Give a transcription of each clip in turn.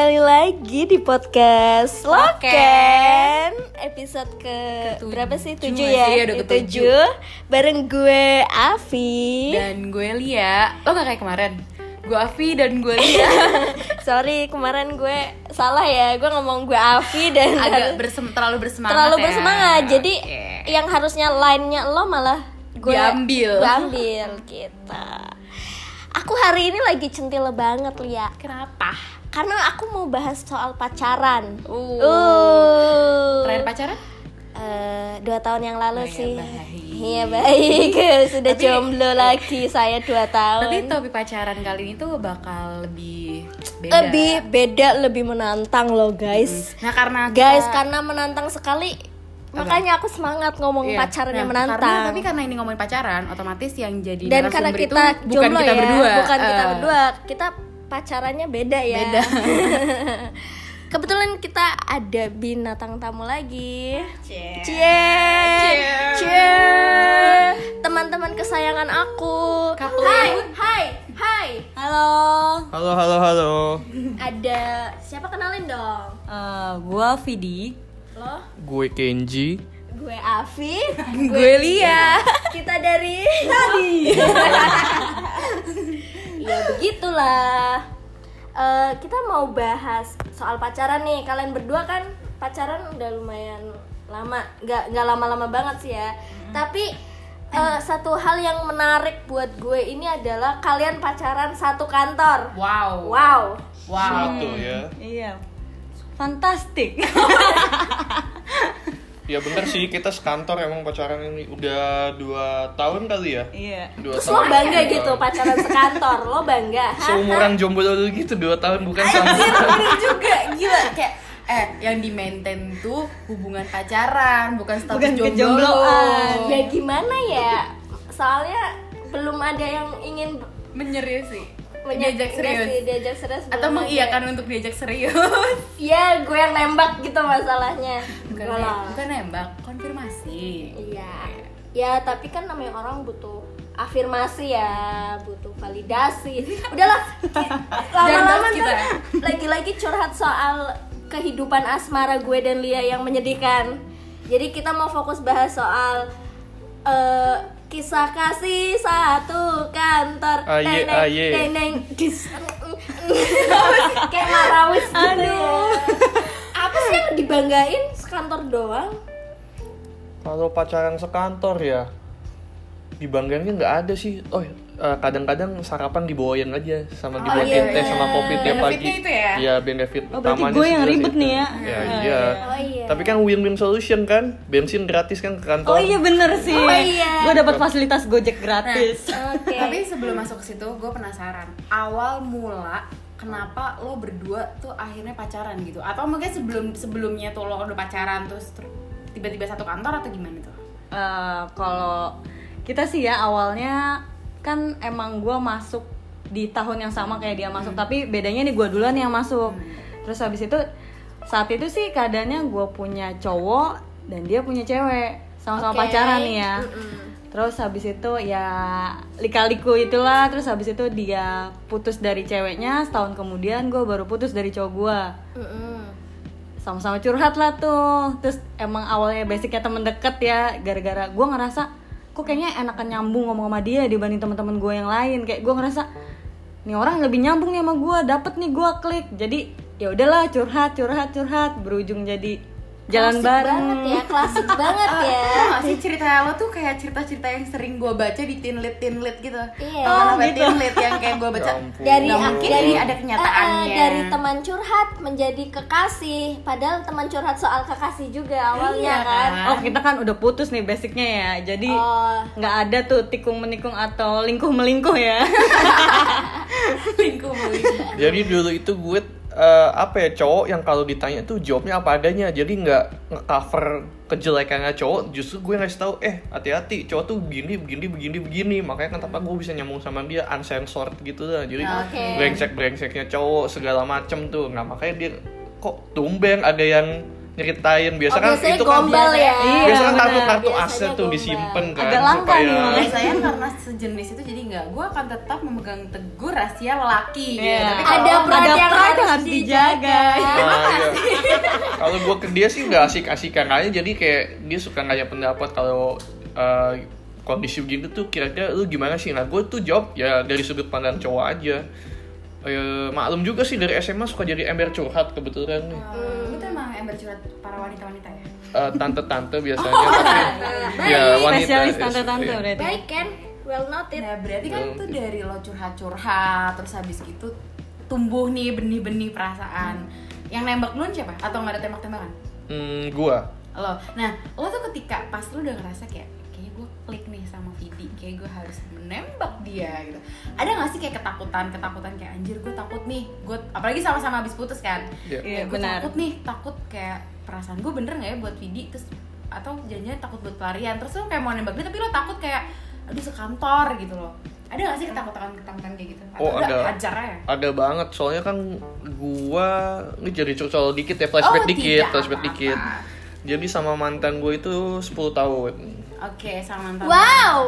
lagi di podcast Loken Episode ke Ketujuh berapa sih? nggak Tujuh sih? ya? Iya, udah Ke ketujuh. tujuh. Bareng gue Avi Dan gue Lia, lo gak kayak kemarin? Gue Avi dan gue Lia Sorry kemarin gue salah ya Gue ngomong gue Avi dan agak bersem, terlalu bersemangat terlalu ya. bersemangat Jadi Oke. yang harusnya line-nya lo malah gue Diambil. gue ambil gitu Aku hari ini lagi centil banget Lia Kenapa? Karena aku mau bahas soal pacaran Uh. Uh. Terakhir pacaran? Eh, dua tahun yang lalu Oh ya, sih baik. iya baik sudah Tapi- jomblo lagi saya dua Tapi tahun topik pacaran kali ini tuh bakal lebih beda lebih beda lebih menantang loh guys Nah karena kita- guys karena menantang sekali makanya aku semangat ngomong Iya. pacaran yang Nah, menantang karena, Tapi karena ini ngomongin pacaran, otomatis yang jadi dan karena narasumber kita itu bukan jomblo kita ya berdua bukan kita Eh, berdua kita pacarannya beda ya Beda. kebetulan kita ada binatang tamu lagi Cie. cie Cie. cie teman-teman kesayangan aku Couple. hai hai hai halo Halo, halo, halo. ada siapa kenalin dong gue Vidi lo Gue Kenji. gue Avi Gue Lia kita dari tadi ya begitulah Eh, kita mau bahas soal pacaran nih kalian berdua kan pacaran udah lumayan lama nggak nggak lama-lama banget sih ya tapi eh, satu hal yang menarik buat gue ini adalah kalian pacaran satu kantor Wow wow Wow ya. iya fantastik Ya bener sih, kita sekantor emang pacaran ini udah dua tahun kali ya. iya Dua terus lo bangga gitu pacaran sekantor lo bangga Hah? Seumuran jomblo dulu gitu, dua tahun bukan sama. Bener juga gila kayak eh yang di maintain tuh hubungan pacaran bukan status Bukan jomblo kejombloan. Oh. ya gimana ya soalnya belum ada yang ingin menyerius ya sih menye- diajak enggak serius sih, diajak serius atau belum ada. mengiyakan untuk diajak serius iya gue yang nembak gitu masalahnya bukan, ya. Gue lah. bukan nembak konfirmasi iya ya tapi kan namanya orang butuh afirmasi ya butuh validasi udahlah lama-lama bahas kita. ya. ntar lagi-lagi curhat soal kehidupan asmara gue dan Lia yang menyedihkan jadi kita mau fokus bahas soal eh, kisah kasih satu kantor Aye, Neneng, aye. neneng, dis mm, kayak marawis gitu ya apa sih yang dibanggain sekantor doang Kalau pacaran sekantor ya, dibanggainnya nggak ada sih. Oh, eh, kadang-kadang sarapan dibawain aja sama dibuatin iya, teh iya. sama kopi tiap pagi. Benefitnya itu ya? Iya, benefit Oh, berarti utamanya gue sih yang jelas ribet itu. nih ya. Iya, Ah, iya. oh iya Tapi kan win-win solution kan? Bensin gratis kan ke kantor. oh iya bener sih Oh, iya. Nah. gue dapat fasilitas gojek gratis oke tapi sebelum masuk ke situ gue penasaran awal mula kenapa lo berdua tuh akhirnya pacaran gitu atau mungkin sebelum sebelumnya tuh lo udah pacaran terus ter- tiba-tiba satu kantor atau gimana tuh Eh, kalau kita sih ya awalnya kan emang gue masuk di tahun yang sama kayak dia masuk Hmm. tapi bedanya nih gue duluan yang masuk terus habis itu saat itu sih keadaannya gue punya cowok dan dia punya cewek sama-sama Oke. pacaran nih ya Mm-mm. terus habis itu ya lika-liku itulah terus habis itu dia putus dari ceweknya setahun kemudian gue baru putus dari cowok gue Mm-mm. sama-sama curhat lah tuh terus emang awalnya basicnya temen deket ya gara-gara gue ngerasa kok kayaknya enakan nyambung ngomong sama dia dibanding teman-teman gue yang lain kayak gue ngerasa nih orang lebih nyambung nih sama gue dapet nih gue klik jadi ya udahlah curhat curhat curhat berujung jadi jalan Klasik bareng banget ya klasik banget ya Eh, Tau gak sih cerita lo tuh kayak cerita-cerita yang sering gue baca di tinlit tinlit gitu Iya. Tau gak Oh, apa gitu. tinlit yang kayak gue baca Ya ampun. dari Nggak mungkin dari ini ada kenyataannya. eh, eh, dari teman curhat menjadi kekasih padahal teman curhat soal kekasih juga awalnya kan Iya, kan? oh kita kan udah putus nih basicnya ya jadi oh nggak ada tuh tikung menikung atau lingkuh melingkuh ya lingkup Oh, lingkup. Jadi dulu itu gue eh, apa ya cowok yang kalau ditanya tuh jawabnya apa adanya. Jadi nggak ngecover kejelekannya cowok. Justru gue ngasih tahu eh hati-hati cowok tuh begini begini begini begini. Makanya kenapa gue bisa nyambung sama dia uncensored gitu lah. Jadi Oke. brengsek brengseknya cowok segala macem tuh. Nah makanya dia kok tumben ada yang nyeritain Oh, biasa kan biasanya itu kan gombal ya. biasa kan Iya, kartu kartu benar. aset Biasanya tuh gombal. disimpan kan Agak langka nih, Mas. saya karena sejenis itu jadi nggak gue akan tetap memegang teguh rahasia lelaki gitu. Iya. tapi Ada kalau peran yang peran harus dijaga. Nah, iya. kalau gue ke dia sih nggak asik asikan aja jadi kayak dia suka nanya pendapat kalau uh, kondisi begini tuh kira-kira lu gimana sih nah gue tuh jawab ya dari sudut pandang cowok aja Eh, maklum juga sih dari SMA suka jadi ember curhat kebetulan nih Hmm, lu tuh emang ember curhat para wanita-wanita ya Eh, tante-tante biasanya tapi ya wanita Spesialis iya, tante-tante iya. berarti. Iya. Baik kan? Well noted. nah berarti kan tuh dari lo curhat-curhat terus habis gitu tumbuh nih benih-benih perasaan Hmm. yang nembak duluan siapa atau nggak ada tembak-tembakan hmm, gua lo nah lo tuh ketika pas lo udah ngerasa kayak kayaknya gue klik nih sama Vidi kayak gue harus menembak dia gitu ada nggak sih kayak ketakutan ketakutan kayak anjir gue takut nih gue apalagi sama-sama habis putus kan Iya. Iya, Kayak gua benar. takut nih takut kayak perasaan gue bener nggak ya buat Vidi terus atau janjian takut buat pelarian terus lo kayak mau nembak dia tapi lo takut kayak aduh sekantor gitu loh ada gak sih ketakutan ketakutan kayak gitu atau Oh, udah ada. ajar aja ada banget soalnya kan gua ini jadi curcol dikit ya Oh, flashback dikit tidak flashback apa-apa. dikit jadi sama mantan gue itu 10 tahun oke sama mantan Wow.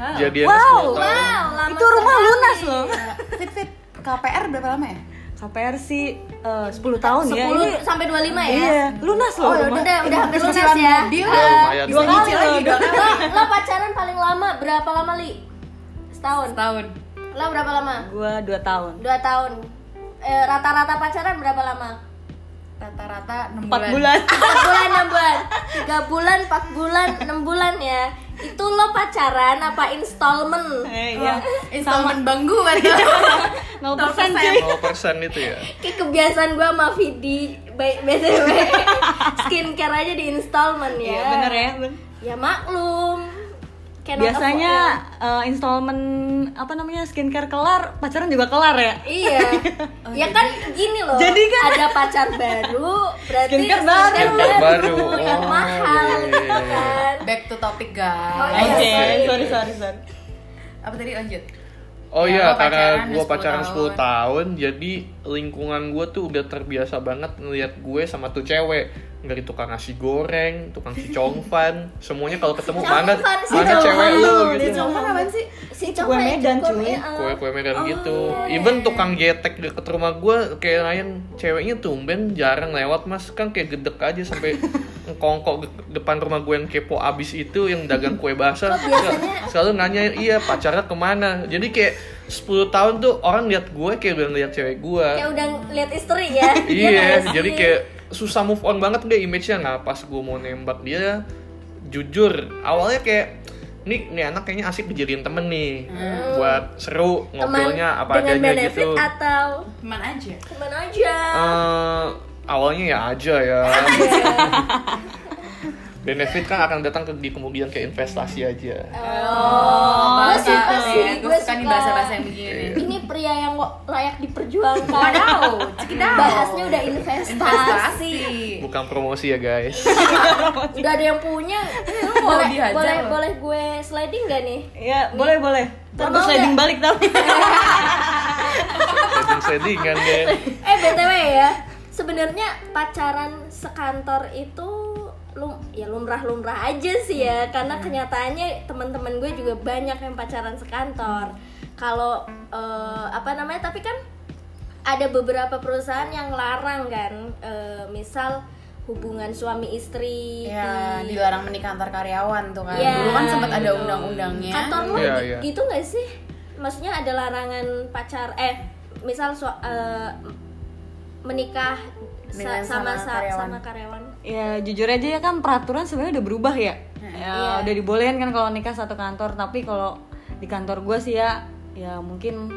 Halo. jadi Wow, Wow, lama Itu rumah sekali. lunas loh. fit fit KPR berapa lama ya KPR sih eh, 10 tahun ya. 10 Ini- sampai 25 ya. Iya, lunas Oh, loh. udah, rumah. udah, udah hampir lunas Cicilan ya. mobil Ya, lumayan Dua sih. kali Nyicil loh. lagi dua udah. kali. Lo, lo pacaran paling lama berapa lama, Li? Setahun. tahun Lo berapa lama? Gua 2 tahun. Dua tahun. Eh, rata-rata pacaran berapa lama? rata-rata 6 4 bulan. 4 bulan, 6 bulan. 3 bulan, 4 bulan, 6 bulan ya. Itu lo pacaran apa installment? Eh, Oh. iya. installment bang gue gitu 0% cuy. 0% itu ya Kayak kebiasaan gue sama Vidi by BTW skincare aja di installment ya. Iya, bener ya. bener. Ya maklum. ya? Cannot Biasanya afford. eh, installment apa namanya skincare kelar, pacaran juga kelar ya. Iya. ya kan gini loh. Oh, Jadi kan- ada pacar baru, berarti Skincare baru. Skincare baru. yang Oh, mahal iya, iya, gitu iya. kan. back to topic Oh, iya. guys Oke, Oke. sorry sorry sorry. apa tadi lanjut Oh Ya, iya, lo karena pacaran gue udah pacaran 10 10 tahun. jadi lingkungan gue tuh udah terbiasa banget ngeliat gue sama tuh cewek dari tukang nasi goreng, tukang si Chongfan, semuanya kalau ketemu mana Chongfan, si mana cewek Chongfan lu lu, dia gitu. Congkak apaan sih? kan Si Kue cowok Medan, cukur, cuy. iya. Kue-kue medan gitu. Even tukang getek deket rumah gue kayak lain ceweknya tumben jarang lewat mas kan kayak gedek aja sampai ngkongkok de- depan rumah gue yang kepo abis itu yang dagang kue basah Kok biasanya- Sel- selalu nanya iya pacarnya kemana jadi kayak 10 tahun tuh orang lihat gue kayak udah lihat cewek gue Kayak udah lihat istri ya. Iya iya nggak sih? jadi kayak susah move on banget deh image-nya nah pas gue mau nembak dia jujur awalnya kayak nih nih anak kayaknya asik dijadiin temen nih buat seru Hmm. Teman ngobrolnya apa dengan adanya benefit gitu atau Teman aja. teman aja. Eh, awalnya ya aja ya benefit kan akan datang ke di kemudian ke investasi aja Oh, gue bahasa suka apa sih, ya? Gue gue suka nih suka. bahasa-bahasa yang Iya. begini. Ini pria yang wo- layak diperjuangkan. Wadaw, cekidau. Bahasnya udah investasi. bukan promosi ya guys Udah ada yang punya. mau boleh, dihajar boleh, loh. boleh gue sliding gak nih? Ya, boleh boleh. Ntar Terus mau sliding balik tapi. seding sedingan deh eh btw ya sebenarnya pacaran sekantor itu lum ya lumrah-lumrah aja sih ya karena kenyataannya teman-teman gue juga banyak yang pacaran sekantor kalau eh, apa namanya tapi kan ada beberapa perusahaan yang larang kan eh, misal hubungan suami istri Ya, di dilarang menikah antar karyawan tuh kan. Iya, Dulu kan sempat ada gitu. undang-undangnya. kantor lu Iya, gi- iya. gitu nggak sih maksudnya ada larangan pacar eh misal su- eh, menikah sa- Dengan sama sama sa- karyawan. sama karyawan Ya jujur aja ya kan peraturan sebenarnya udah berubah ya. Ya, Iya. udah dibolehin kan kalau nikah satu kantor, tapi kalau di kantor gue sih ya ya mungkin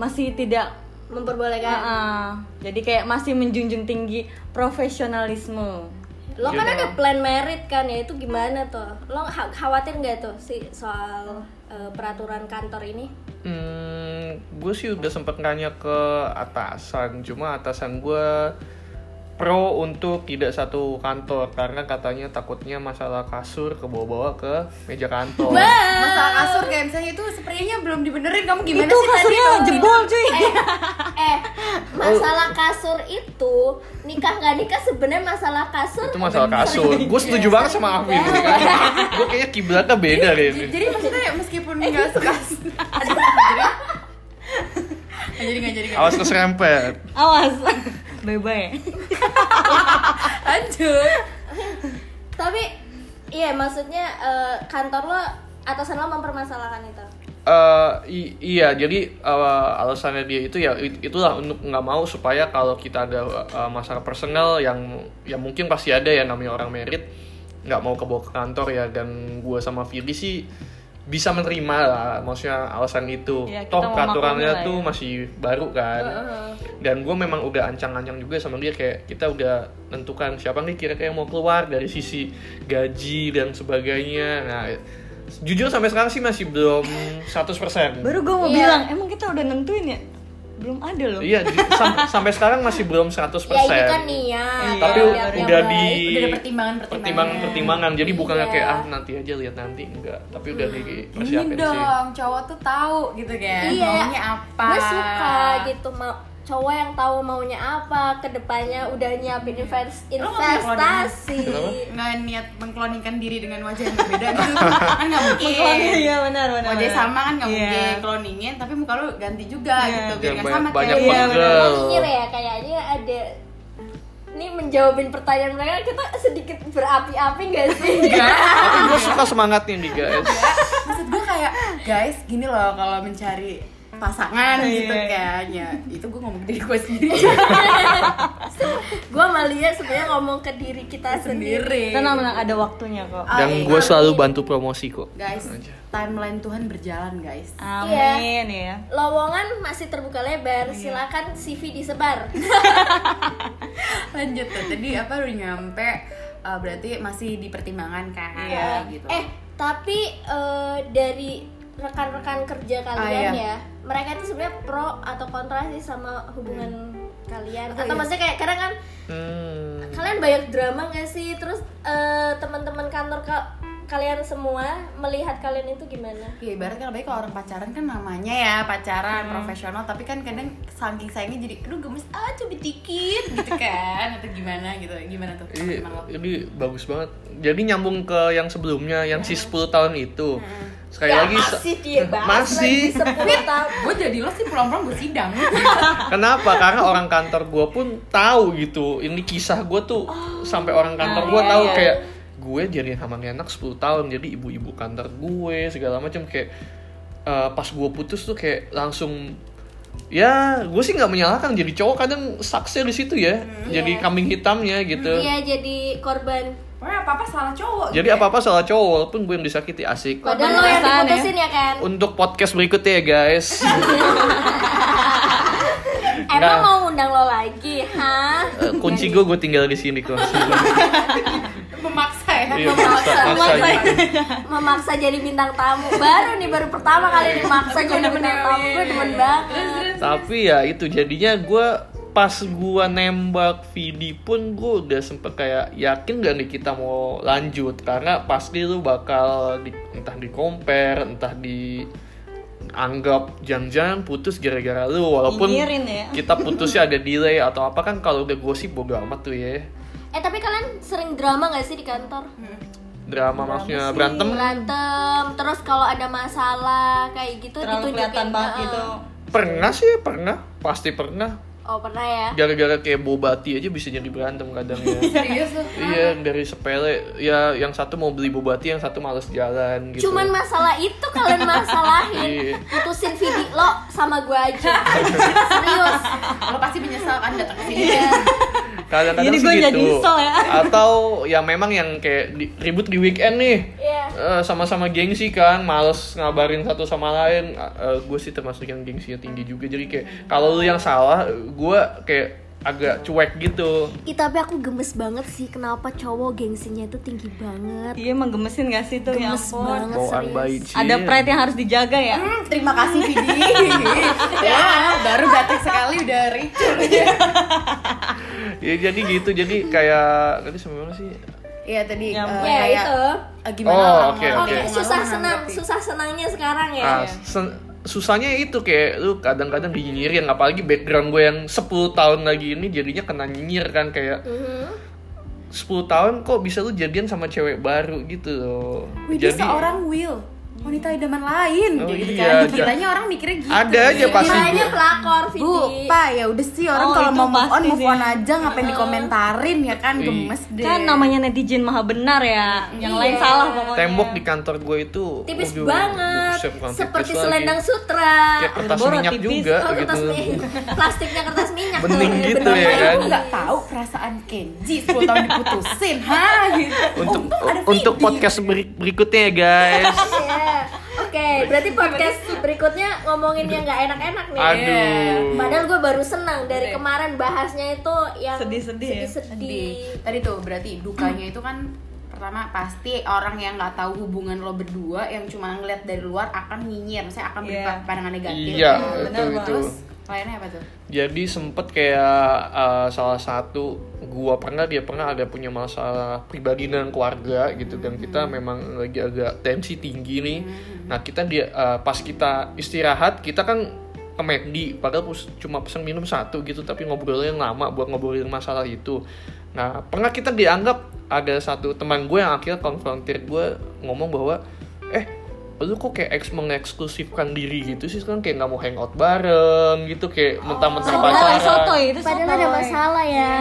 masih tidak memperbolehkan Ah, jadi kayak masih menjunjung tinggi profesionalisme. lo Iya, kan ada plan merit kan ya itu gimana tuh lo kha- khawatir nggak tuh si soal eh, peraturan kantor ini Hmm, gue sih udah sempet nanya ke atasan, cuma atasan gue pro untuk tidak satu kantor karena katanya takutnya masalah kasur kebawa-bawa ke meja kantor. masalah kasur kayak misalnya itu spraynya belum dibenerin kamu gimana sih itu tadi kasurnya kalau jebol cuy eh masalah kasur itu nikah nggak nikah sebenarnya masalah kasur Itu masalah kasur. Gue setuju banget sama Iya. Afif. ya. Gue kayaknya kiblatnya beda deh ini. Jadi- jadi maksudnya meskipun nggak suka Aduh, jadi nggak jadi nggak jadi nggak Awas keserempet. awas bye bye lanjut tapi iya maksudnya eh, kantor lo atasan lo mempermasalahkan itu Eh, i- iya jadi eh, alasannya dia itu ya it- itulah untuk nggak mau supaya kalau kita ada eh, masalah personal yang yang mungkin pasti ada ya namanya orang merit nggak mau kebawa ke kantor ya dan gua sama Viri sih bisa menerima lah maksudnya alasan itu Iya, kita toh memaklumi lah peraturannya ya. tuh masih baru kan dan gue memang udah ancang-ancang juga sama dia kayak kita udah tentukan siapa nih kira-kira yang mau keluar dari sisi gaji dan sebagainya nah jujur sampai sekarang sih masih belum 100% baru gue mau Iya. bilang emang kita udah nentuin ya belum ada loh iya ju- sam- sampai sekarang masih belum ya 100% itu kan Iya, niat tapi ya, biar yang udah baik. udah di ada pertimbangan pertimbangan pertimbangan pertimbangan jadi bukan Iya. kayak ah nanti aja lihat nanti enggak tapi udah Hmm, ini dipersiapin sih dong cowok tuh tahu gitu kan Iya. maunya apa gue suka gitu mau cowok yang tahu maunya apa kedepannya udah nyiapin invest- Iya. Lo mau punya keluarga? investasi Kenapa? nggak niat mengkloningkan diri dengan wajah yang berbeda gitu kan nggak mungkin Mengklonnya, iya benar benar wajah benar. sama kan nggak Iya. mungkin kloningin tapi muka lu ganti juga Iya. gitu biar Jangan nggak sama banyak Iya, kayak bener. pegel. Anjir ya kayaknya ada ini menjawabin pertanyaan mereka kita sedikit berapi-api gak sih? tapi gue suka semangatnya nih guys maksud gue kayak guys gini loh kalau mencari pasangan gitu Iya. kan ya itu gue ngomong ke diri gue sendiri gue Malia sebenarnya ngomong ke diri kita sendiri. sendiri tenang tenang ada waktunya kok Ah, dan iya. gue selalu bantu promosi kok guys timeline Tuhan berjalan guys Iya. amin ya Lowongan masih terbuka lebar, silakan CV disebar. lanjut tuh tadi apa udah nyampe uh, berarti masih dipertimbangkan kan Iya. gitu Eh tapi eh, dari rekan-rekan kerja kalian ya, iya. mereka itu sebenarnya pro atau kontra sih sama hubungan kalian? Atau Atau Hmm. iya. maksudnya kayak kadang kan Hmm. kalian banyak drama gak sih? Terus eh, teman-teman kantor ka- kalian semua melihat kalian itu gimana? Ya ibarat kan baik kalau orang pacaran kan namanya ya pacaran profesional tapi kan kadang saking sayangnya jadi aduh gemes ah coba dikit gitu kan atau gimana gitu gimana tuh Ini, teman lo? ini bagus banget. Jadi nyambung ke yang sebelumnya, yang si 10 tahun itu. Sekali Ya, lagi se- masih dia bahas masih. lagi 10 tahun. gue ya jadi lo sih pulang-pulang gue sidang Kenapa? Karena orang kantor gue pun tahu gitu. Ini kisah gue tuh Oh, sampai orang kantor Ah, gue iya, tahu iya. kayak gue jadi sama nih anak 10 tahun jadi ibu-ibu kantor gue segala macam kayak eh, pas gue putus tuh kayak langsung ya gue sih nggak menyalahkan jadi cowok kadang saksi di situ ya Iya. jadi Hmm, kambing hitamnya gitu Eh. Dia Iya, jadi korban. Wah apa apa salah cowok gitu ya. jadi apa apa salah cowok walaupun gue yang disakiti asik Padahal Korban lo yang perasaan ya. diputusin ya kan? untuk podcast berikutnya ya guys Emang nah. Nggak. mau undang lo lagi? Hah? Eh, kunci gue gue tinggal di sini kok memaksa ya Iya, maksa, maksa gitu. memaksa jadi bintang tamu baru nih baru pertama Iya, kali dimaksa jadi bintang tamu gue demen banget tapi ya itu jadinya gue pas gue nembak Vidi pun gue udah sempet kayak yakin gak nih kita mau lanjut karena pasti lu bakal di, entah di compare entah di anggap jangan-jangan putus gara-gara lu walaupun Nyinyirin ya. kita putusnya ada delay atau apa kan kalau udah gosip bodo amat tuh ya eh tapi kalian sering drama gak sih di kantor Hmm. drama, maksudnya berantem berantem terus kalau ada masalah kayak gitu terlalu ditunjukin kelihatan banget Heeh. gitu pernah sih pernah pasti pernah oh pernah ya gara-gara kayak bobati aja bisa jadi berantem kadang ya serius lo iya dari sepele ya yang satu mau beli bobati yang satu males jalan gitu cuman masalah itu kalian masalahin Iya. putusin video lo sama gue aja serius lo pasti menyesal kan datang ke sini kadang-kadang Jadi sih gua gitu jadi nyesel ya. atau ya memang yang kayak di- ribut di weekend nih Iya. Eh, sama-sama gengsi kan males ngabarin satu sama lain gue sih termasuk yang gengsinya tinggi juga jadi kayak kalau lu yang salah gue kayak agak cuek gitu Ih, tapi aku gemes banget sih kenapa cowok gengsinya itu tinggi banget iya emang gemesin gak sih tuh ya Gemes ampun banget. bawaan serius. baik sih. ada pride yang harus dijaga ya Hmm, terima kasih Vidi ya, baru datang sekali udah ricu ya jadi gitu jadi kayak tadi sebelumnya sih Iya tadi Ya, eh, Yang- kayak, itu. eh, gimana Oh, orang oke, Oke, Oke. susah senang, susah senangnya sekarang ya. ah, sen- susahnya itu kayak lu kadang-kadang dinyinyirin apalagi background gue yang 10 tahun lagi ini jadinya kena nyinyir kan kayak Mhm. 10 tahun kok bisa lu jadian sama cewek baru gitu loh Widya seorang Will, wanita idaman lain Oh, kayak gitu iya, kan. iya. Kiranya orang mikirnya gitu. Ada aja ya. Iya. pasti. Kiranya pelakor, Bu, Vidi. Pak, ya udah sih orang Oh, kalau itu mau move on pasti move on sih. Oh. aja ngapain dikomentarin ya kan Iya. gemes Iya. deh. Kan namanya netizen maha benar ya. Yang lain salah pokoknya. tembok di kantor gue itu tipis waduh, banget, buset, bukan seperti tipis lagi. selendang sutra. kayak kertas Borat minyak tipis. juga Oh, kertas gitu minyak. Plastiknya kertas minyak. Iya, Bening Bener, gitu ya bener. kan? Aku nggak tahu perasaan Kenji 10 tahun diputusin, ha gitu. untuk ada untuk Vidi. podcast beri- berikutnya ya guys Iya. Oke, berarti podcast berikutnya ngomongin yang nggak enak-enak nih. aduh Padahal gue baru senang dari kemarin bahasnya itu yang Sedih-sedih ya? sedih-sedih. Sedih. Tadi tuh berarti dukanya itu kan pertama pasti orang yang nggak tahu hubungan lo berdua yang cuma ngeliat dari luar akan nyinyir, saya akan beri Iya. pandangan negatif. Iya, benar itu itu. Terus lainnya apa tuh? Jadi sempet kayak eh, salah satu gua pernah dia pernah ada punya masalah pribadi dengan keluarga gitu dan kita memang lagi agak tensi tinggi nih. Nah kita dia eh, pas kita istirahat kita kan ke McD padahal pus- cuma pesan minum satu gitu tapi ngobrolnya yang lama buat ngobrolin masalah itu. Nah pernah kita dianggap ada satu teman gue yang akhirnya konfrontir gue ngomong bahwa eh lu kok kayak eks mengeksklusifkan diri gitu sih kan kayak nggak mau hangout bareng gitu kayak mentah-mentah Oh, Sotoy, pacaran sotoy, ya, itu Padahal sotoy. ada masalah ya.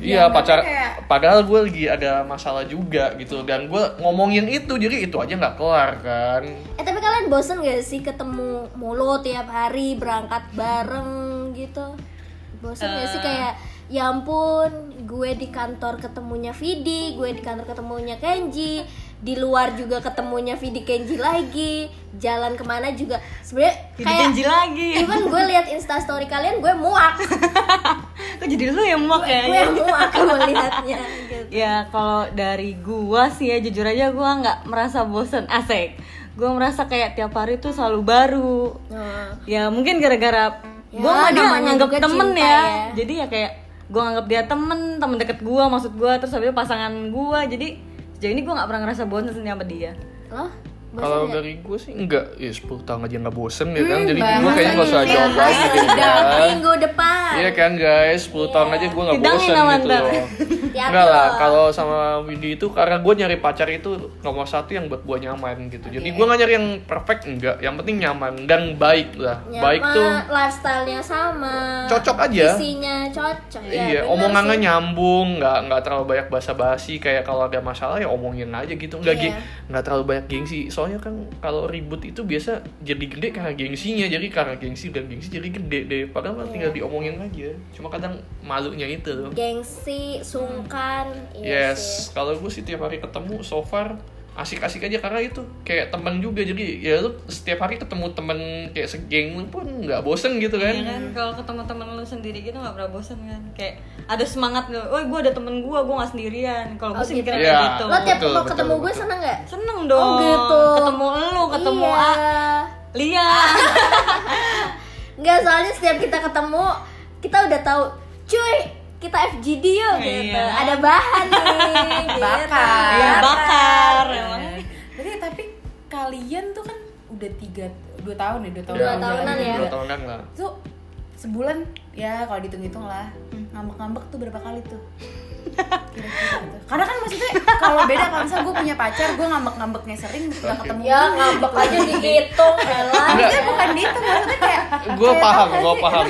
iya pacar kayak- padahal gue lagi ada masalah juga gitu dan gue ngomongin itu jadi itu aja nggak kelar kan Eh tapi kalian bosen gak sih ketemu mulu tiap hari berangkat bareng gitu? Bosen gak sih kayak ya ampun gue di kantor ketemunya Vidi, gue di kantor ketemunya Kenji, di luar juga ketemunya Vidi Kenji lagi, jalan kemana juga sebenarnya Jadi kayak janji lagi. even gue lihat instastory kalian gue muak, Kok jadi lu yang muak ya? gue muak melihatnya gitu. Ya kalau dari gua sih ya jujur aja gua nggak merasa bosen asik. Gua merasa kayak tiap hari tuh selalu baru. Nah, Ya mungkin gara-gara Ya, gua nggak namanya nganggap juga temen cinta ya. ya. Jadi ya kayak gua nganggap dia temen, temen deket gua maksud gua terus habis itu pasangan gua. Jadi sejauh ini gua nggak pernah ngerasa bosen sama dia. loh, bosen kalau nggak? dari gue sih enggak ya 10 tahun aja nggak bosen ya kan Hmm, jadi gue kayaknya gak usah bahasa jawab Indonesia. lagi gitu kan minggu depan. Iya kan guys, 10 tahun aja gue gak Tidangin bosen sama gitu ntar. loh Yakin Enggak lah, loh. kalau sama Windy itu karena gue nyari pacar itu nomor satu yang buat gue nyaman gitu Jadi gue gak nyari yang perfect, enggak Yang penting nyaman dan baik lah Nyaman, Baik tuh lifestyle-nya sama. Cocok aja. Isinya cocok. ya, iya, bener omongannya sih. nyambung, nggak nggak terlalu banyak basa-basi kayak kalau ada masalah ya omongin aja gitu, nggak Iya. geng- nggak terlalu banyak gengsi. Soalnya kan kalau ribut itu biasa jadi gede karena gengsinya, jadi karena gengsi dan gengsi jadi gede deh. Padahal mah tinggal diomongin aja. Cuma kadang malunya itu. loh. Gengsi, sungkan. Iya sih. Yes, kalau gue sih tiap hari ketemu so far asik-asik aja karena itu kayak teman juga jadi ya lu setiap hari ketemu temen kayak segeng lu pun nggak bosen gitu Ya kan. kan kalau ketemu temen lu sendiri gitu nggak pernah bosen kan kayak ada semangat lu, oh gue ada temen gue, gue nggak sendirian. Kalau gue Oh, sih gitu. mikirnya Iya. kayak gitu. Lo tiap Betul, lo betul, ketemu gue betul. seneng gak? Seneng dong. Oh, gitu. Ketemu lu, ketemu iya. A- Lia. Nggak, soalnya setiap kita ketemu, kita udah tahu, cuy, kita FGD yuk gitu. Iya. Ada bahan nih. gitu. Bakar. Iya, bakar. Iya. emang. Emang. Berarti tapi kalian tuh kan udah tiga dua tahun ya dua tahun. Dua udah tahunan lagi ya. Dua berdua. tahunan lah. Tuh sebulan ya kalau dihitung-hitung lah Hmm, ngambek-ngambek tuh berapa kali tuh? Kira-kira tuh. Karena kan maksudnya kalau beda kalau misalnya gue punya pacar gue ngambek-ngambeknya sering gak ketemu. gitu. Ya ngambek aja dihitung, elah. Maksudnya bukan gitu maksudnya kayak gue Eh, paham, gue paham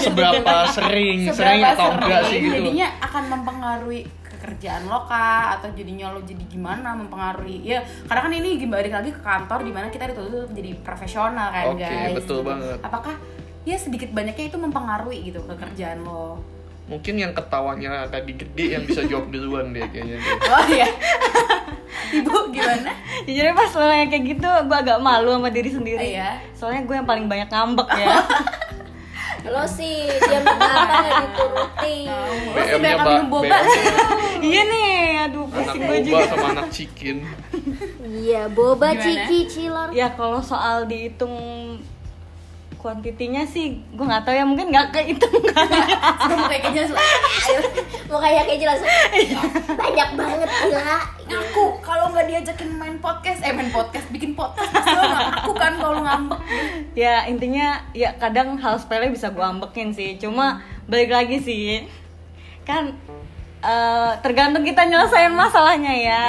seberapa sering, seberapa sering atau enggak sih sering gitu. jadinya akan mempengaruhi kekerjaan lo kah atau jadinya lo jadi gimana mempengaruhi ya karena kan ini kembali lagi ke kantor dimana kita dituntut jadi profesional kan Oke, guys betul banget. apakah ya sedikit banyaknya itu mempengaruhi gitu kekerjaan lo Mungkin yang ketawanya tadi gede yang bisa jawab duluan deh kayaknya. deh. oh iya ibu gimana Jujur aja pas lo nanya kayak gitu, gue agak malu sama diri Gitu. sendiri. Iya. Soalnya gue yang paling banyak ngambek ya. Lo sih, dia minta apa nggak dituruti. lo sih banyak ba- minum boba BM-nya iya nih, aduh pusing anak gue boba juga. sama anak chicken. Iya, boba Gimana? ciki cilor. Ya kalau soal dihitung kuantitinya sih gue nggak tahu ya mungkin nggak kehitung kali Kamu kayak kayaknya mukanya kayak jelas Iya. banyak banget gila aku kalau nggak diajakin main podcast eh main podcast bikin podcast pasti lo aku kan kalau ngambek ya intinya ya kadang hal sepele bisa gue ambekin sih cuma balik lagi sih kan eh, tergantung kita nyelesain masalahnya ya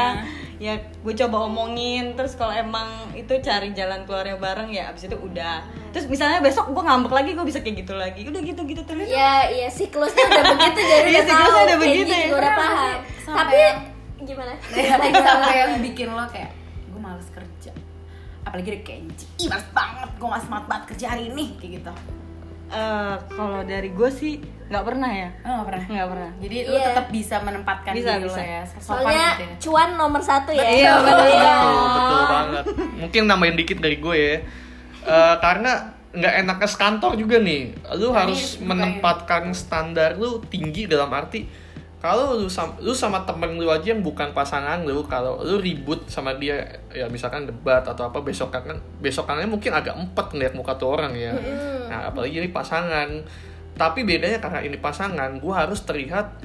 ya gue coba omongin terus kalau emang itu cari jalan keluarnya bareng ya abis itu udah terus misalnya besok gue ngambek lagi gue bisa kayak gitu lagi udah gitu gitu terus ya ya siklusnya udah begitu jadi Iya, udah Iya, tahu siklusnya udah kayak begitu gini ya. gua udah Kenapa paham sih? Sampai tapi yang- gimana sampai yang bikin lo kayak gue males kerja apalagi ada kenji ih males banget gue nggak semangat banget kerja hari ini kayak gitu Eh, kalau dari gue sih nggak pernah ya lo nggak pernah nggak pernah jadi lo Iya. tetap bisa menempatkan Bisa, diri bisa. lo ya sopan soalnya gitu ya cuan nomor satu ya Iya, betul. Iya. Betul, betul banget. Mungkin nambahin dikit dari gue ya. Eh, karena nggak enaknya sekantor juga nih. Iya, Lu harus bukain. menempatkan standar lu tinggi dalam arti kalau lu sama, lu sama temen lu aja yang bukan pasangan lu kalau lu ribut sama dia ya misalkan debat atau apa besok kan besok kangen mungkin agak empat ngeliat muka tuh orang ya nah apalagi ini pasangan tapi bedanya karena ini pasangan gue harus terlihat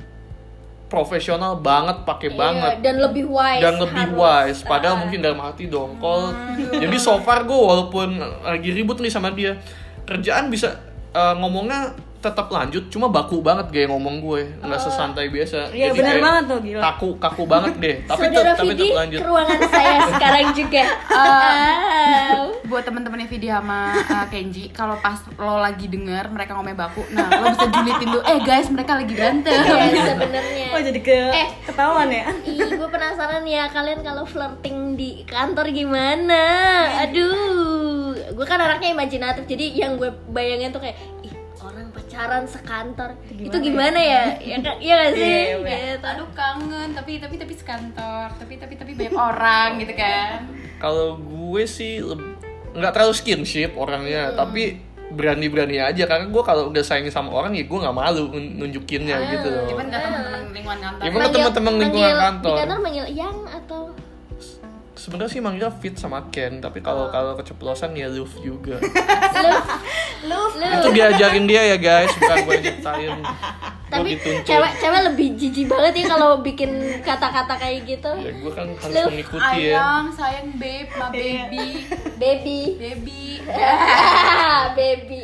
profesional banget Iya, pakai banget dan lebih wise dan lebih harus. wise padahal Ah. mungkin dalam hati dongkol jadi so far gue walaupun lagi ribut nih sama dia kerjaan bisa eh, ngomongnya tetap lanjut cuma baku banget gaya ngomong gue nggak sesantai biasa Iya, Jadi bener kayak banget tuh, gila. kaku kaku banget deh tapi tet- Saudara tapi Vidi tetap lanjut ke ruangan saya sekarang juga Wow. buat temen-temennya Vidi sama uh, Kenji kalau pas lo lagi denger mereka ngomel baku nah lo bisa julitin dulu eh guys mereka lagi berantem gitu. Iya, sebenarnya Oh jadi ke Eh. ketahuan ya? Ih, gue penasaran ya kalian kalau flirting di kantor gimana? Aduh, gue kan anaknya imajinatif, jadi yang gue bayangin tuh kayak ih orang pacaran sekantor itu gimana ya? Ya, kan- iya gak sih? Iya, iya, iya. Gitu. aduh kangen tapi tapi tapi sekantor tapi tapi tapi banyak orang gitu kan kalau gue sih leb- nggak terlalu skinship orangnya tapi berani-berani aja karena gue kalau udah sayang sama orang ya gue nggak malu nun- nunjukinnya gitu loh even ke temen-temen lingkungan kantor Even- Emang teman-teman lingkungan Gitu. manggil- kantor? Di kantor manggil yang atau sebenarnya sih manggilnya fit sama Ken Oh. tapi kalau kalau keceplosan ya Luf juga love, love. itu diajarin dia ya guys bukan gue nyiptain gue Tapi dituntut cewek cewek lebih jijik banget ya kalau bikin kata-kata kayak gitu. ya gue kan harus Luf, mengikuti ya Ayang, sayang, babe, ma baby, Baby, baby, Ah, baby,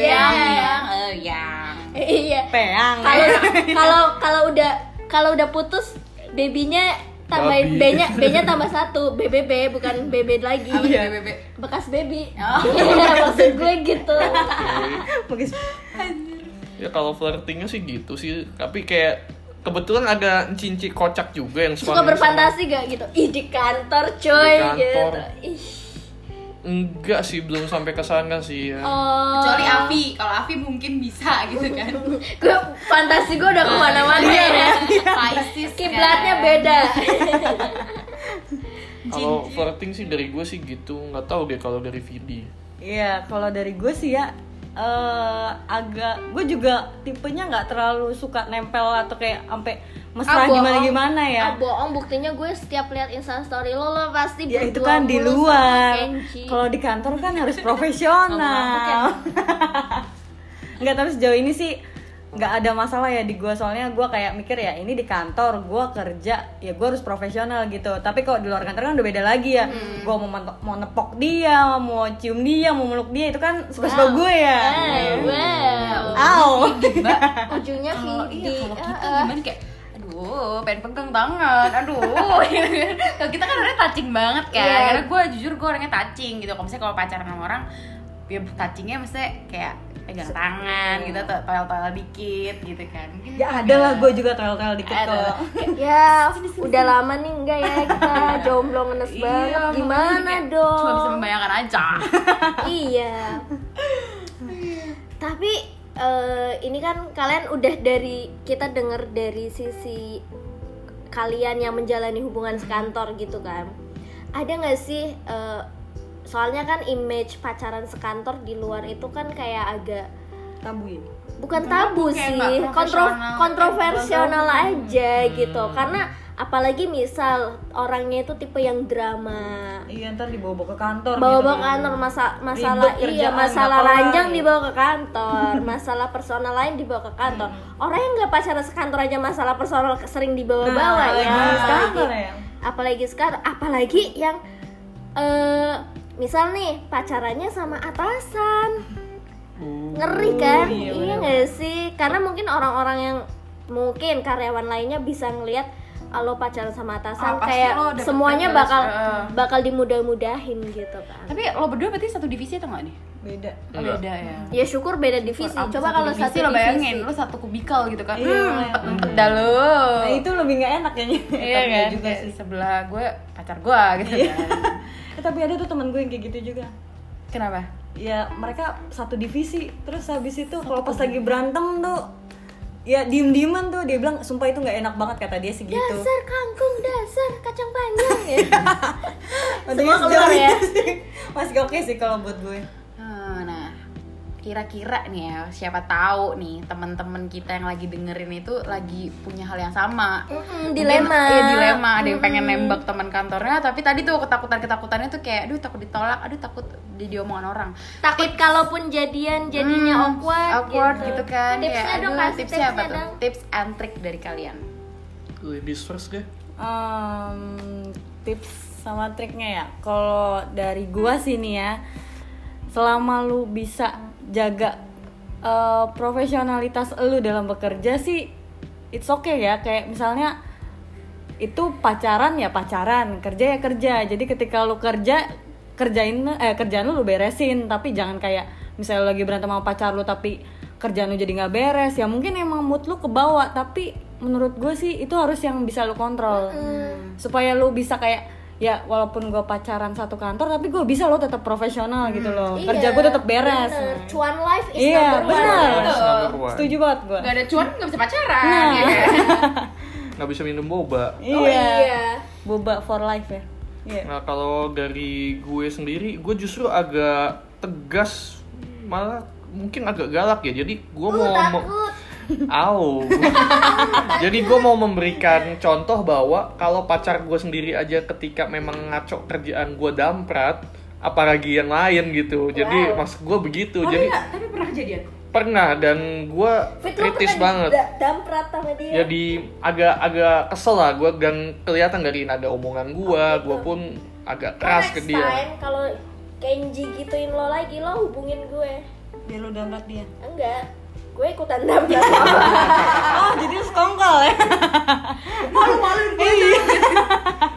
iya, oh yang. iya. Peang. kalau kalau kalau udah kalau udah putus babynya tambahin Babi. B-nya B-nya tambah satu BBB bukan BB lagi Oh, Iya, bebek. bekas baby Oh. maksud gue gitu Bagus. ya kalau flirtingnya sih gitu sih tapi kayak kebetulan ada cinci kocak juga yang suka suami- berfantasi gak gitu ih di kantor coy Di kantor. gitu ih enggak sih belum sampai ke sana sih ya. oh Kecuali Avi, kalau Avi mungkin bisa gitu kan. gue fantasi gue udah kemana-mana Iya. ya Pisces. kan. kiblatnya beda kalau flirting sih dari gue sih gitu nggak tahu deh kalau dari Vidi Iya, kalau dari gue sih ya eh, agak gue juga tipenya nggak terlalu suka nempel atau kayak sampai mesra Ah, bohong. gimana gimana ya. ah, bohong buktinya gue setiap lihat instastory lo lo pasti Ya itu kan di berdua mulu sama luar. Kenji. Eh, Kalau di kantor kan harus profesional. Nggak tapi sejauh ini sih nggak ada masalah ya di gue soalnya gue kayak mikir ya ini di kantor gue kerja ya gue harus profesional gitu tapi kalau di luar kantor kan udah beda lagi ya Hmm. gue mau mentok- mau nepok dia mau cium dia mau meluk dia itu kan suka suka gue ya Eh, wow. Au. ujungnya eh, Kalau iya, Vidi kalau kita Ah, ah. gimana kayak aduh pengen pegang tangan aduh gitu kan. kalau kita kan orangnya touching banget kan Iya. karena gue jujur gue orangnya touching gitu kalau misalnya kalau pacaran sama orang ya touchingnya maksudnya kayak pegang tangan iya. gitu atau toel-toel dikit gitu kan mungkin ya ada lah gue juga toel-toel dikit Ada. kok ya udah lama nih enggak ya kita jomblo ngenes Iya, banget makanya gimana kayak dong cuma bisa membayangkan aja iya tapi eh, ini kan kalian udah dari kita denger dari sisi kalian yang menjalani hubungan sekantor gitu kan ada nggak sih eh, soalnya kan image pacaran sekantor di luar itu kan kayak agak tabu ya bukan Bukan tabu tabu, kayak sih nggak kontro profesional. kontroversial aja gitu karena apalagi misal orangnya itu tipe yang drama iya ntar dibawa-bawa ke kantor bawa-bawa gitu. ke kantor masa- masalah Ribet iya kerjaan, masalah nggak ya. kelar. ranjang dibawa ke kantor masalah personal lain dibawa ke kantor Hmm. orang yang nggak pacaran sekantor aja masalah personal sering dibawa-bawa Nah, ya lagi Apalagi- kantor ya. apalagi sekarang apalagi yang eh misal nih pacarannya sama atasan Oh, ngeri kan iya, iya nggak sih karena mungkin orang-orang yang mungkin karyawan lainnya bisa ngelihat kalau pacaran sama atasan Ah, pasti kayak lo dapet semuanya privilege, bakal eh. bakal dimudah-mudahin gitu kan Tapi lo berdua berarti satu divisi atau enggak nih? beda Oh, Enggak. Beda ya. ya syukur beda divisi Aku coba kalau satu divisi lo bayangin, divisi lo satu kubikal gitu kan. Iya, Hmm, iya. empet-empet dah lo. Oh. nah, itu lebih nggak enak kayaknya Iya Tapi kan? juga Kayak sih sebelah gue pacar gue gitu kan. Eh, tapi ada tuh temen gue yang kayak gitu juga Kenapa? ya mereka satu divisi terus habis itu kalau pas lagi berantem tuh ya diem dieman tuh dia bilang sumpah itu nggak enak banget kata dia gitu. gitu. segitu dasar kangkung dasar kacang panjang ya Untungnya Semua keluar sejauh ya. itu sih. masih oke sih kalau buat gue Ah, Nah, kira-kira nih ya, siapa tahu nih teman-teman kita yang lagi dengerin itu lagi punya hal yang sama. Mm-mm, Mungkin- dilema Iya, dilema. Ada yang pengen nembak teman kantornya, tapi tadi tuh ketakutan-ketakutannya tuh kayak aduh takut ditolak, aduh takut di diomongan orang. takut kalaupun jadian jadinya Hmm, awkward, awkward gitu, kan. tipsnya ya, dong aduh, kasih tipsnya apa tuh? dong. Tips and trick dari kalian. Ladies first deh. Em, tips sama triknya ya kalau dari gua sih nih ya selama lu bisa jaga eh, profesionalitas lu dalam bekerja sih it's okay ya kayak misalnya itu pacaran ya pacaran kerja ya kerja jadi ketika lu kerja kerjain eh kerjaan lu lu beresin tapi jangan kayak misalnya lu lagi berantem sama pacar lu tapi kerjaan lu jadi nggak beres ya mungkin emang mood lu kebawa tapi menurut gue sih itu harus yang bisa lu kontrol supaya lu bisa kayak ya walaupun gue pacaran satu kantor tapi gue bisa lo tetap profesional gitu loh Iya, kerja gue tetap beres bener. Cuan life is Iya, number one. bener. Guys, number one. setuju banget gue Gak ada cuan gak bisa pacaran. Nah. ya kan? Nggak bisa minum boba. Oh iya. boba for life ya Iya. Nah kalau dari gue sendiri, gue justru agak tegas, malah mungkin agak galak ya. Jadi gue Uh, mau, mau takut. Au. Jadi gue mau memberikan contoh bahwa kalau pacar gue sendiri aja ketika memang ngaco kerjaan gue damprat, apalagi yang lain gitu. Jadi maksud gue begitu. Oh Jadi iya, tapi pernah kejadian. pernah dan gue Fit, lu kritis pernah banget. Ya, da- Damprat sama dia. Jadi agak-agak kesel lah gue dan kelihatan dari nada omongan gue, gue pun agak Kalau keras Oh, ke gitu. next dia. time kalau Kenji gituin lo lagi, lo hubungin gue. biar lu ya. damprat dia Enggak. Gue ikutan damprat. oh jadi lu sekongkol ya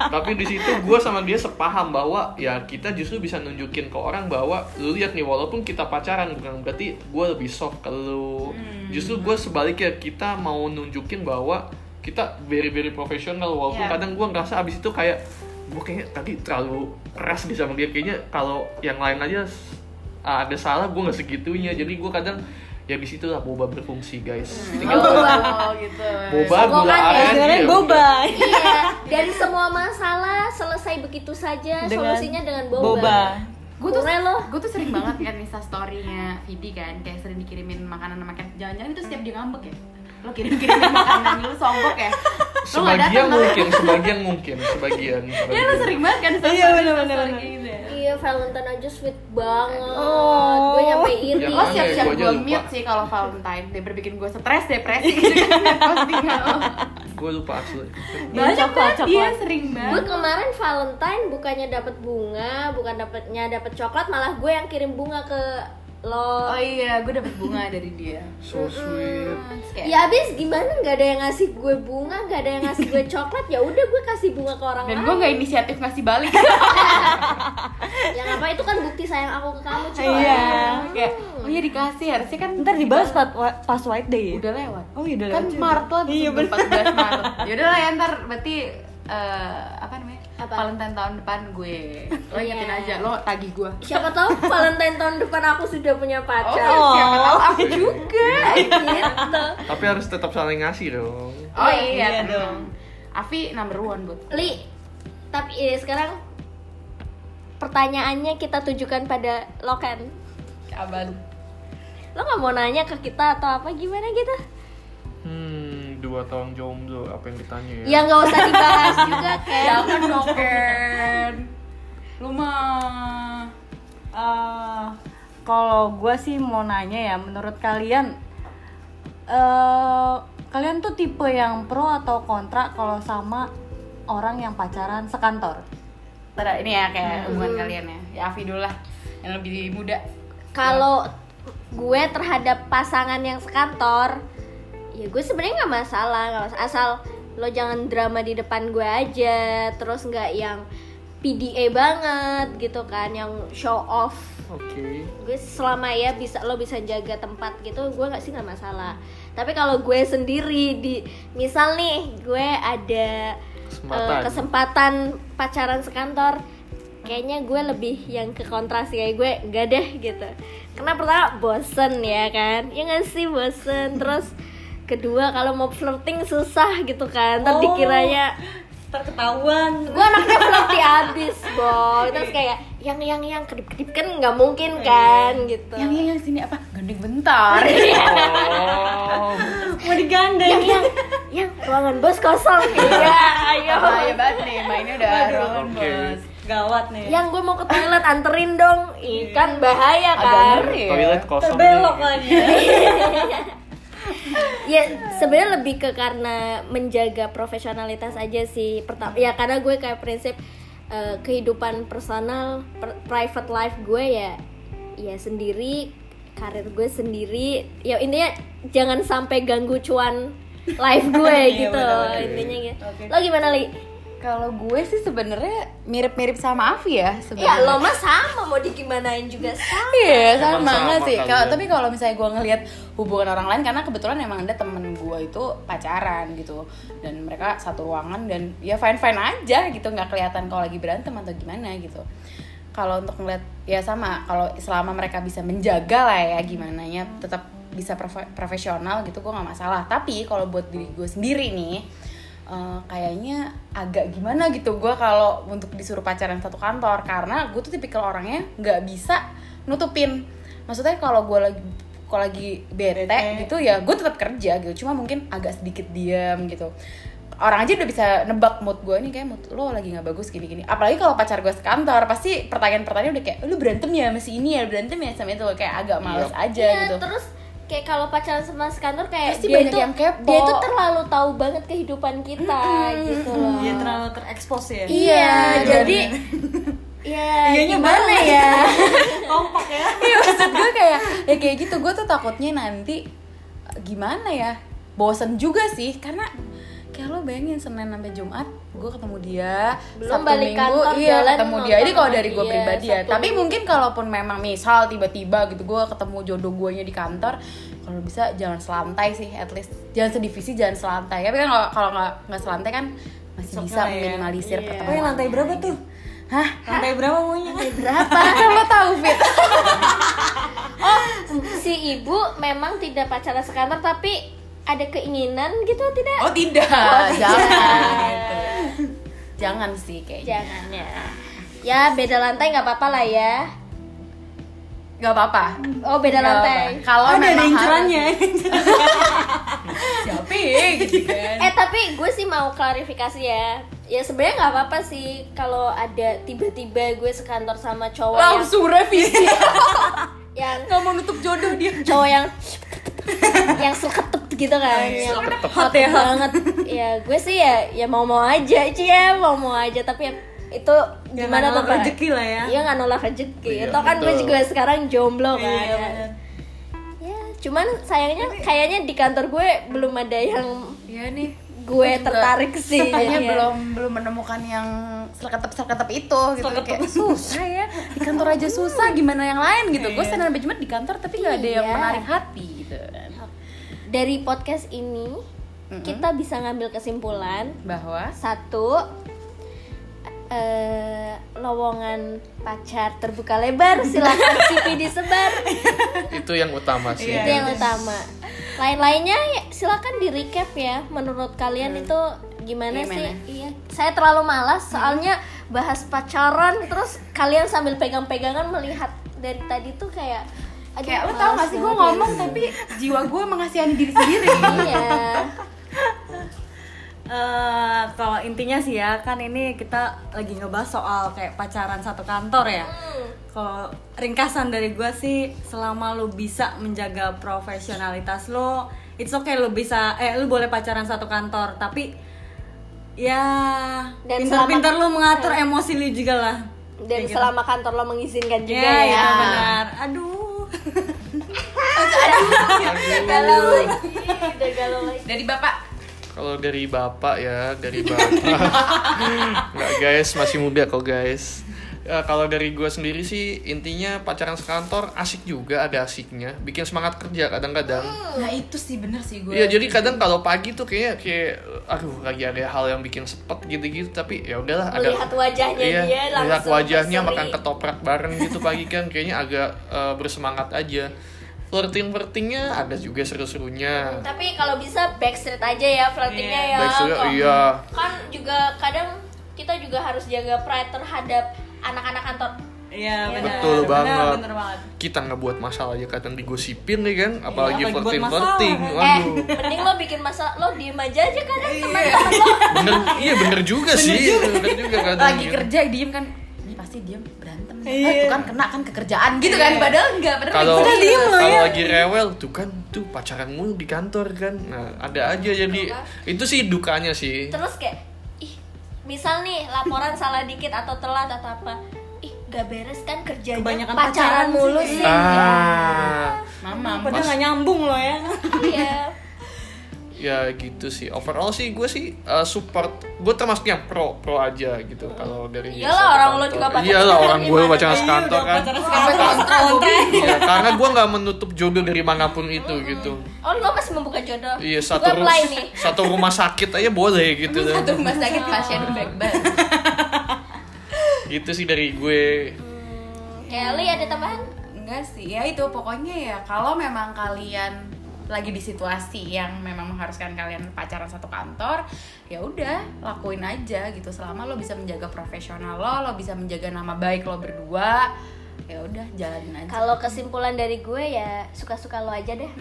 Tapi di situ gue sama dia sepaham bahwa ya kita justru bisa nunjukin ke orang bahwa lu lihat nih walaupun kita pacaran bukan berarti gue lebih soft ke lu. Justru gue sebaliknya kita mau nunjukin bahwa kita very very profesional walaupun Ya. kadang gue ngerasa abis itu kayak gue kayaknya tadi terlalu keras nih sama dia kayaknya kalau yang lain aja s- ada salah gue nggak segitunya jadi gue kadang ya di situ lah boba berfungsi guys tinggal Oh, gitu. boba Sombongan gula ya, aren sebenarnya ya boba iya. Dari semua masalah selesai begitu saja, Dengan solusinya dengan boba. boba gue tuh Keren loh. gue tuh sering banget kan insta story-nya Vidi kan kayak sering dikirimin makanan makan jangan-jangan itu setiap dia ngambek ya lo kirim kirimin makanan lu sombong ya lo nggak datang sebagian tapi mungkin sebagian mungkin sebagian, ya lo sebagian. sering banget kan insta Iya, story bener, insta bener, story bener. kayak gitu ya Iya, Valentine aja sweet banget. Oh. Gue nyampe iri. Iya, lo makanya siap-siap gua aja gue lupa. mute sih kalau Valentine daripada bikin gue stres depresi gitu kan liat postingan lo. gue lupa asli banyak Iya, kan? Iya. coklat, banget dia coklat. sering gue banget kemarin Valentine bukannya dapat bunga bukan dapatnya dapat coklat malah gue yang kirim bunga ke lo oh iya gue dapet bunga dari dia so sweet Terus kayak- Iya. ya abis gimana nggak ada yang ngasih gue bunga nggak ada yang ngasih gue coklat ya udah gue kasih bunga ke orang dan lain gue nggak inisiatif ngasih balik Iya. ya apa itu kan bukti sayang aku ke kamu cuy Iya. kayak oh iya dikasih harusnya kan ntar dibahas pas, pas white day ya udah lewat oh iya udah kan lanjut. Maret lah iya bener 14 Maret yaudah lah ya ntar berarti eh, apa namanya Apa? Valentine tahun depan gue lo ingetin Iya. aja lo tagih gue siapa tahu Valentine tahun depan aku sudah punya oh pacar siapa tahu aku juga gitu tapi harus tetap saling ngasih dong oh Iya, iya, iya tenang. dong. Avi number one buat li tapi eh, sekarang pertanyaannya kita tujukan pada lo kan abad lo nggak mau nanya ke kita atau apa gimana gitu hmm dua dua tahun jomblo apa yang ditanya ya? Ya nggak usah dibahas juga Ken. Jangan dong Ken Lu mah Eh, kalau gue sih mau nanya ya, menurut kalian, eh kalian tuh tipe yang pro atau kontra kalau sama orang yang pacaran sekantor? Ntar, ini ya Iya. kayak hubungan kalian ya Ya Afi dulu lah Yang lebih muda Kalau gue terhadap pasangan yang sekantor, ya gue sebenarnya nggak masalah, nggak masalah. asal lo jangan drama di depan gue aja, terus nggak yang PDA banget gitu kan, yang show off Oke. gue selama ya bisa lo bisa jaga tempat gitu gue nggak sih nggak masalah tapi kalau gue sendiri di misal nih gue ada Kesempatan. eh, kesempatan pacaran sekantor kayaknya gue lebih yang ke kontras kayak gue gak deh gitu karena pertama bosen ya kan ya nggak sih bosen terus kedua kalau mau flirting susah gitu kan ntar Oh. dikiranya Oh. Terketahuan. gue anaknya flirty abis boy terus kayak yang yang yang kedip kedip kan nggak mungkin kan gitu Iya. Yang yang yang sini apa? Iya, Gendeng bentar Oh. Mau digandeng. yang yang yang ruangan bos kosong iya ayo Bahaya banget nih, mainnya udah ruangan Oke. bos Gawat nih. yang gue mau ke toilet anterin dong ikan bahaya Agak kan ngeri ya Toilet kosong. terbelok nih. lagi. Iya. ya sebenarnya lebih ke karena menjaga profesionalitas aja sih pertama ya karena gue kayak prinsip eh, kehidupan personal per- private life gue ya ya sendiri karir gue sendiri ya intinya jangan sampai ganggu cuan life gue Iya, gitu benar-benar. intinya gitu Oke. lo gimana li Kalau gue sih sebenarnya mirip-mirip sama Afi ya ya sebenarnya. lo mah sama mau digimanain juga sama Iya, sama Emang banget sama sih. kalian. Kalau tapi kalau misalnya gue ngelihat hubungan orang lain karena kebetulan emang ada temen gue itu pacaran gitu dan mereka satu ruangan dan ya fine fine aja gitu nggak kelihatan kalau lagi berantem atau gimana gitu. Kalau untuk ngeliat ya sama kalau selama mereka bisa menjaga lah ya gimana ya tetap bisa profe- profesional gitu gue nggak masalah. Tapi kalau buat diri gue sendiri nih Eh, kayaknya agak gimana gitu gue kalau untuk disuruh pacaran satu kantor karena gue tuh tipikal orangnya nggak bisa nutupin maksudnya kalau gue lagi kalau lagi bete, gitu ya gue tetap kerja gitu cuma mungkin agak sedikit diam gitu orang aja udah bisa nebak mood gue nih kayak mood lo lagi nggak bagus gini gini apalagi kalau pacar gue sekantor pasti pertanyaan-pertanyaan udah kayak lu berantem ya masih ini ya berantem ya sama itu kayak agak males aja Iya, gitu terus kayak kalau pacaran sama sekantor kayak Pasti dia banyak itu yang kepo. dia itu terlalu tahu banget kehidupan kita gitu Iya, loh. Dia Iya, terlalu terekspos ya. Iya, jadi ya Iyanya gimana ya? Kompak ya. Iya maksud gue kayak ya kayak gitu gue tuh takutnya nanti eh, gimana ya bosen juga sih karena kayak lo bayangin senin sampai jumat gue ketemu dia Belum balik kantor, iya jalan ketemu dia ini nonton kalau sama dari gue dia, pribadi ya Sabtu tapi minggu. mungkin kalaupun memang misal tiba-tiba gitu gue ketemu jodoh guanya di kantor kalau bisa jangan selantai sih at least jangan sedivisi jangan selantai tapi kan kalau- kalau nggak nggak selantai kan masih Besoknya bisa lah ya. minimalisir Iya. pertemuan Woi, lantai berapa tuh? Hah? Lantai berapa maunya? Berapa? lo tahu Fit? Si ibu memang tidak pacaran sekantor tapi ada keinginan gitu tidak? Iya, Oh tidak, jangan. jangan sih kayaknya. Jangan ya. Ya beda lantai nggak apa-apa lah ya. Gak apa-apa. Oh beda Nggak lantai. Iya. apa-apa. Kalau Ada ada memang incerannya. harus Siapa ya, gitu kan? Eh tapi gue sih mau klarifikasi ya. Ya sebenarnya nggak apa-apa sih kalau ada tiba-tiba gue sekantor sama cowok yang- Langsung revisi. Iya, yang Gak mau nutup jodoh dia. cowok yang yang seketep gitu kan yang hot ya, hot. banget ya gue sih ya ya mau mau aja sih ya mau mau aja tapi ya, itu gimana tuh nolak Pak? rezeki lah ya. iya nggak nolak rezeki Iya, itu kan gue betul. juga sekarang jomblo kan Iya, ya. bener. Ya, cuman sayangnya kayaknya di kantor gue belum ada yang Iya nih. gue juga tertarik sih Kayaknya jadinya. belum belum menemukan yang seleketep seleketep itu gitu kayak susah Nah, ya di kantor aja susah gimana yang lain gitu gue senin sampai jumat di kan-, kantor tapi gak ada yang Iya. menarik hati gitu kan dari podcast ini kita bisa ngambil kesimpulan bahwa satu eh lowongan pacar terbuka lebar silakan CV disebar Itu yang utama sih. Iya, itu yang utama lain-lainnya ya, silakan di recap ya menurut kalian itu gimana, Hmm. Gimana? sih iya saya terlalu malas soalnya bahas pacaran terus kalian sambil pegang-pegangan melihat dari tadi tuh kayak Oh, aduh, kayak lo tau malas gak sih gue banget ya. ngomong tapi jiwa gue mengasihani diri sendiri iya Eh, kalau intinya sih ya kan ini kita lagi ngebahas soal kayak pacaran satu kantor ya. Kalau ringkasan dari gua sih selama lu bisa menjaga profesionalitas lo, it's okay lu bisa eh lu boleh pacaran satu kantor tapi ya Dan pinter-pinter lu selama- mengatur emosi lu juga lah. dan selama kantor lo mengizinkan juga Ya, ya, itu benar. Aduh. galau lagi udah galau lagi Dari bapak. Kalau dari bapak ya, dari bapak. Nggak guys, masih muda kok guys. Ya, kalau dari gua sendiri sih intinya pacaran sekantor asik juga ada asiknya, bikin semangat kerja Oh, kadang-kadang. Nah itu sih bener sih gue. Iya jadi kadang kalau pagi tuh kayaknya kayak aduh lagi ada hal yang bikin sepet gitu-gitu tapi ya udahlah ada melihat wajahnya iya, dia langsung lihat wajahnya berseri. makan ketoprak bareng gitu pagi kan kayaknya agak eh, bersemangat aja. Flirting-flirtingnya ada juga seru-serunya. tapi kalau bisa backstreet aja ya flirtingnya ya Baik sudah, Kok- iya. kan juga kadang kita juga harus jaga pride terhadap anak-anak kantor Iya, Iya. benar. Betul benar, banget. benar banget. Kita nggak buat masalah aja kadang digosipin nih kan, apalagi apalagi buat flirting flirting. eh masalah. Waduh. mending lo bikin masalah lo diem aja aja kadang teman-teman lo Bener, iya bener juga sih. Bener juga kadang. Lagi gitu. kerja diem kan. Ini pasti diem berantem. nih. Iya. Ah, itu kan kena kan kekerjaan gitu kan. Iya. Padahal enggak bener. Kalau Padahal diem loh kalau ya. lagi rewel tuh kan tuh pacaran mulu di kantor kan. Nah, ada aja jadi itu sih dukanya sih. terus kayak ih misal nih laporan salah dikit atau telat atau apa ih gak beres kan kerjanya Kebanyakan pacaran pacaran mulu sih sih. Ah. Mama. Padahal nggak nyambung loh ya. iya ya gitu sih overall sih gue sih uh, support gue termasuk yang pro pro aja gitu kalau dari Iyalah, satu orang lo kantor. juga pacaran. iyalah orang gue Gimana? pacaran sekantor kan Pacaran Sampai sekarang kontra, kontra. Iya, karena gue nggak menutup jodoh dari manapun itu gitu oh lo masih membuka jodoh iya Gua satu ru- apply nih satu rumah sakit aja boleh gitu loh. Satu rumah sakit pasien back gitu sih dari gue Kelly ada tambahan Enggak sih, ya itu pokoknya ya kalau memang kalian lagi di situasi yang memang mengharuskan kalian pacaran satu kantor, ya udah lakuin aja gitu selama lo bisa menjaga profesional lo, lo bisa menjaga nama baik lo berdua, ya udah jalanin aja. Kalau kesimpulan dari gue ya suka-suka lo aja deh.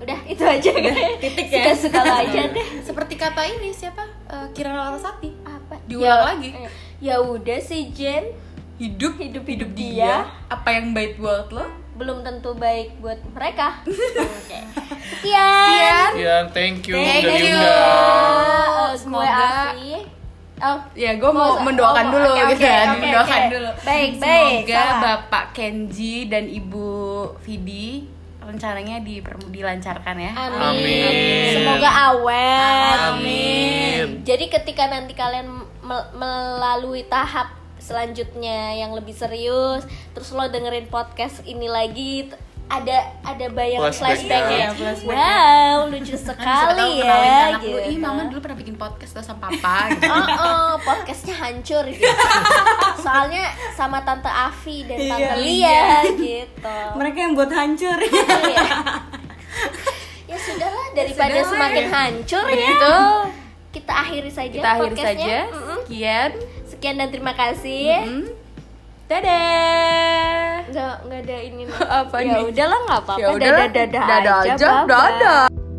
Udah itu aja titik ya. Suka-suka lo aja deh. Seperti kata ini siapa Eh, Kirana Larasati, Apa? Diulang lagi. Ya udah sih Jen, hidup hidup hidup hidup dia, dia apa yang baik buat lo? belum tentu baik buat mereka. Oke. Sekian. Iya. ya thank you Thank udah you. diundang. Oh, gue Semoga- Afi. Oh, Ya, gue Oh, mau mendoakan oh, dulu oke, gitu oke, kan, oke, mendoakan oke. dulu. Baik, baik, Semoga salah. Bapak Kenji dan Ibu Vidi rencananya diper- dilancarkan ya. Amin. Amin. Semoga awet. Amin. Jadi ketika nanti kalian mel- melalui tahap selanjutnya yang lebih serius, terus lo dengerin podcast ini lagi t- ada ada bayangan Flashback flashback ya. ya. Iya, flashback. Wow, lucu Kan siapa tahu sekali kenalin ke ya. anak lu, Ih, mama dulu pernah bikin podcast tuh sama papa gitu. Oh, oh, podcastnya hancur gitu. Soalnya sama tante Avi dan tante Iya. Lia gitu. Mereka yang buat hancur. Iya. ya sudahlah daripada sudahlah, semakin ya. hancur ya. Begitu. Kita akhiri saja Kita akhiri podcastnya. saja. Mm-mm. Sekian. Sekian dan terima kasih. Hmm. Dadah. Nggak nggak ada ini. nih. Apa ya nih? udahlah nggak apa-apa. Ya udah, Dadah dadah dadah aja. bye-bye. dadah.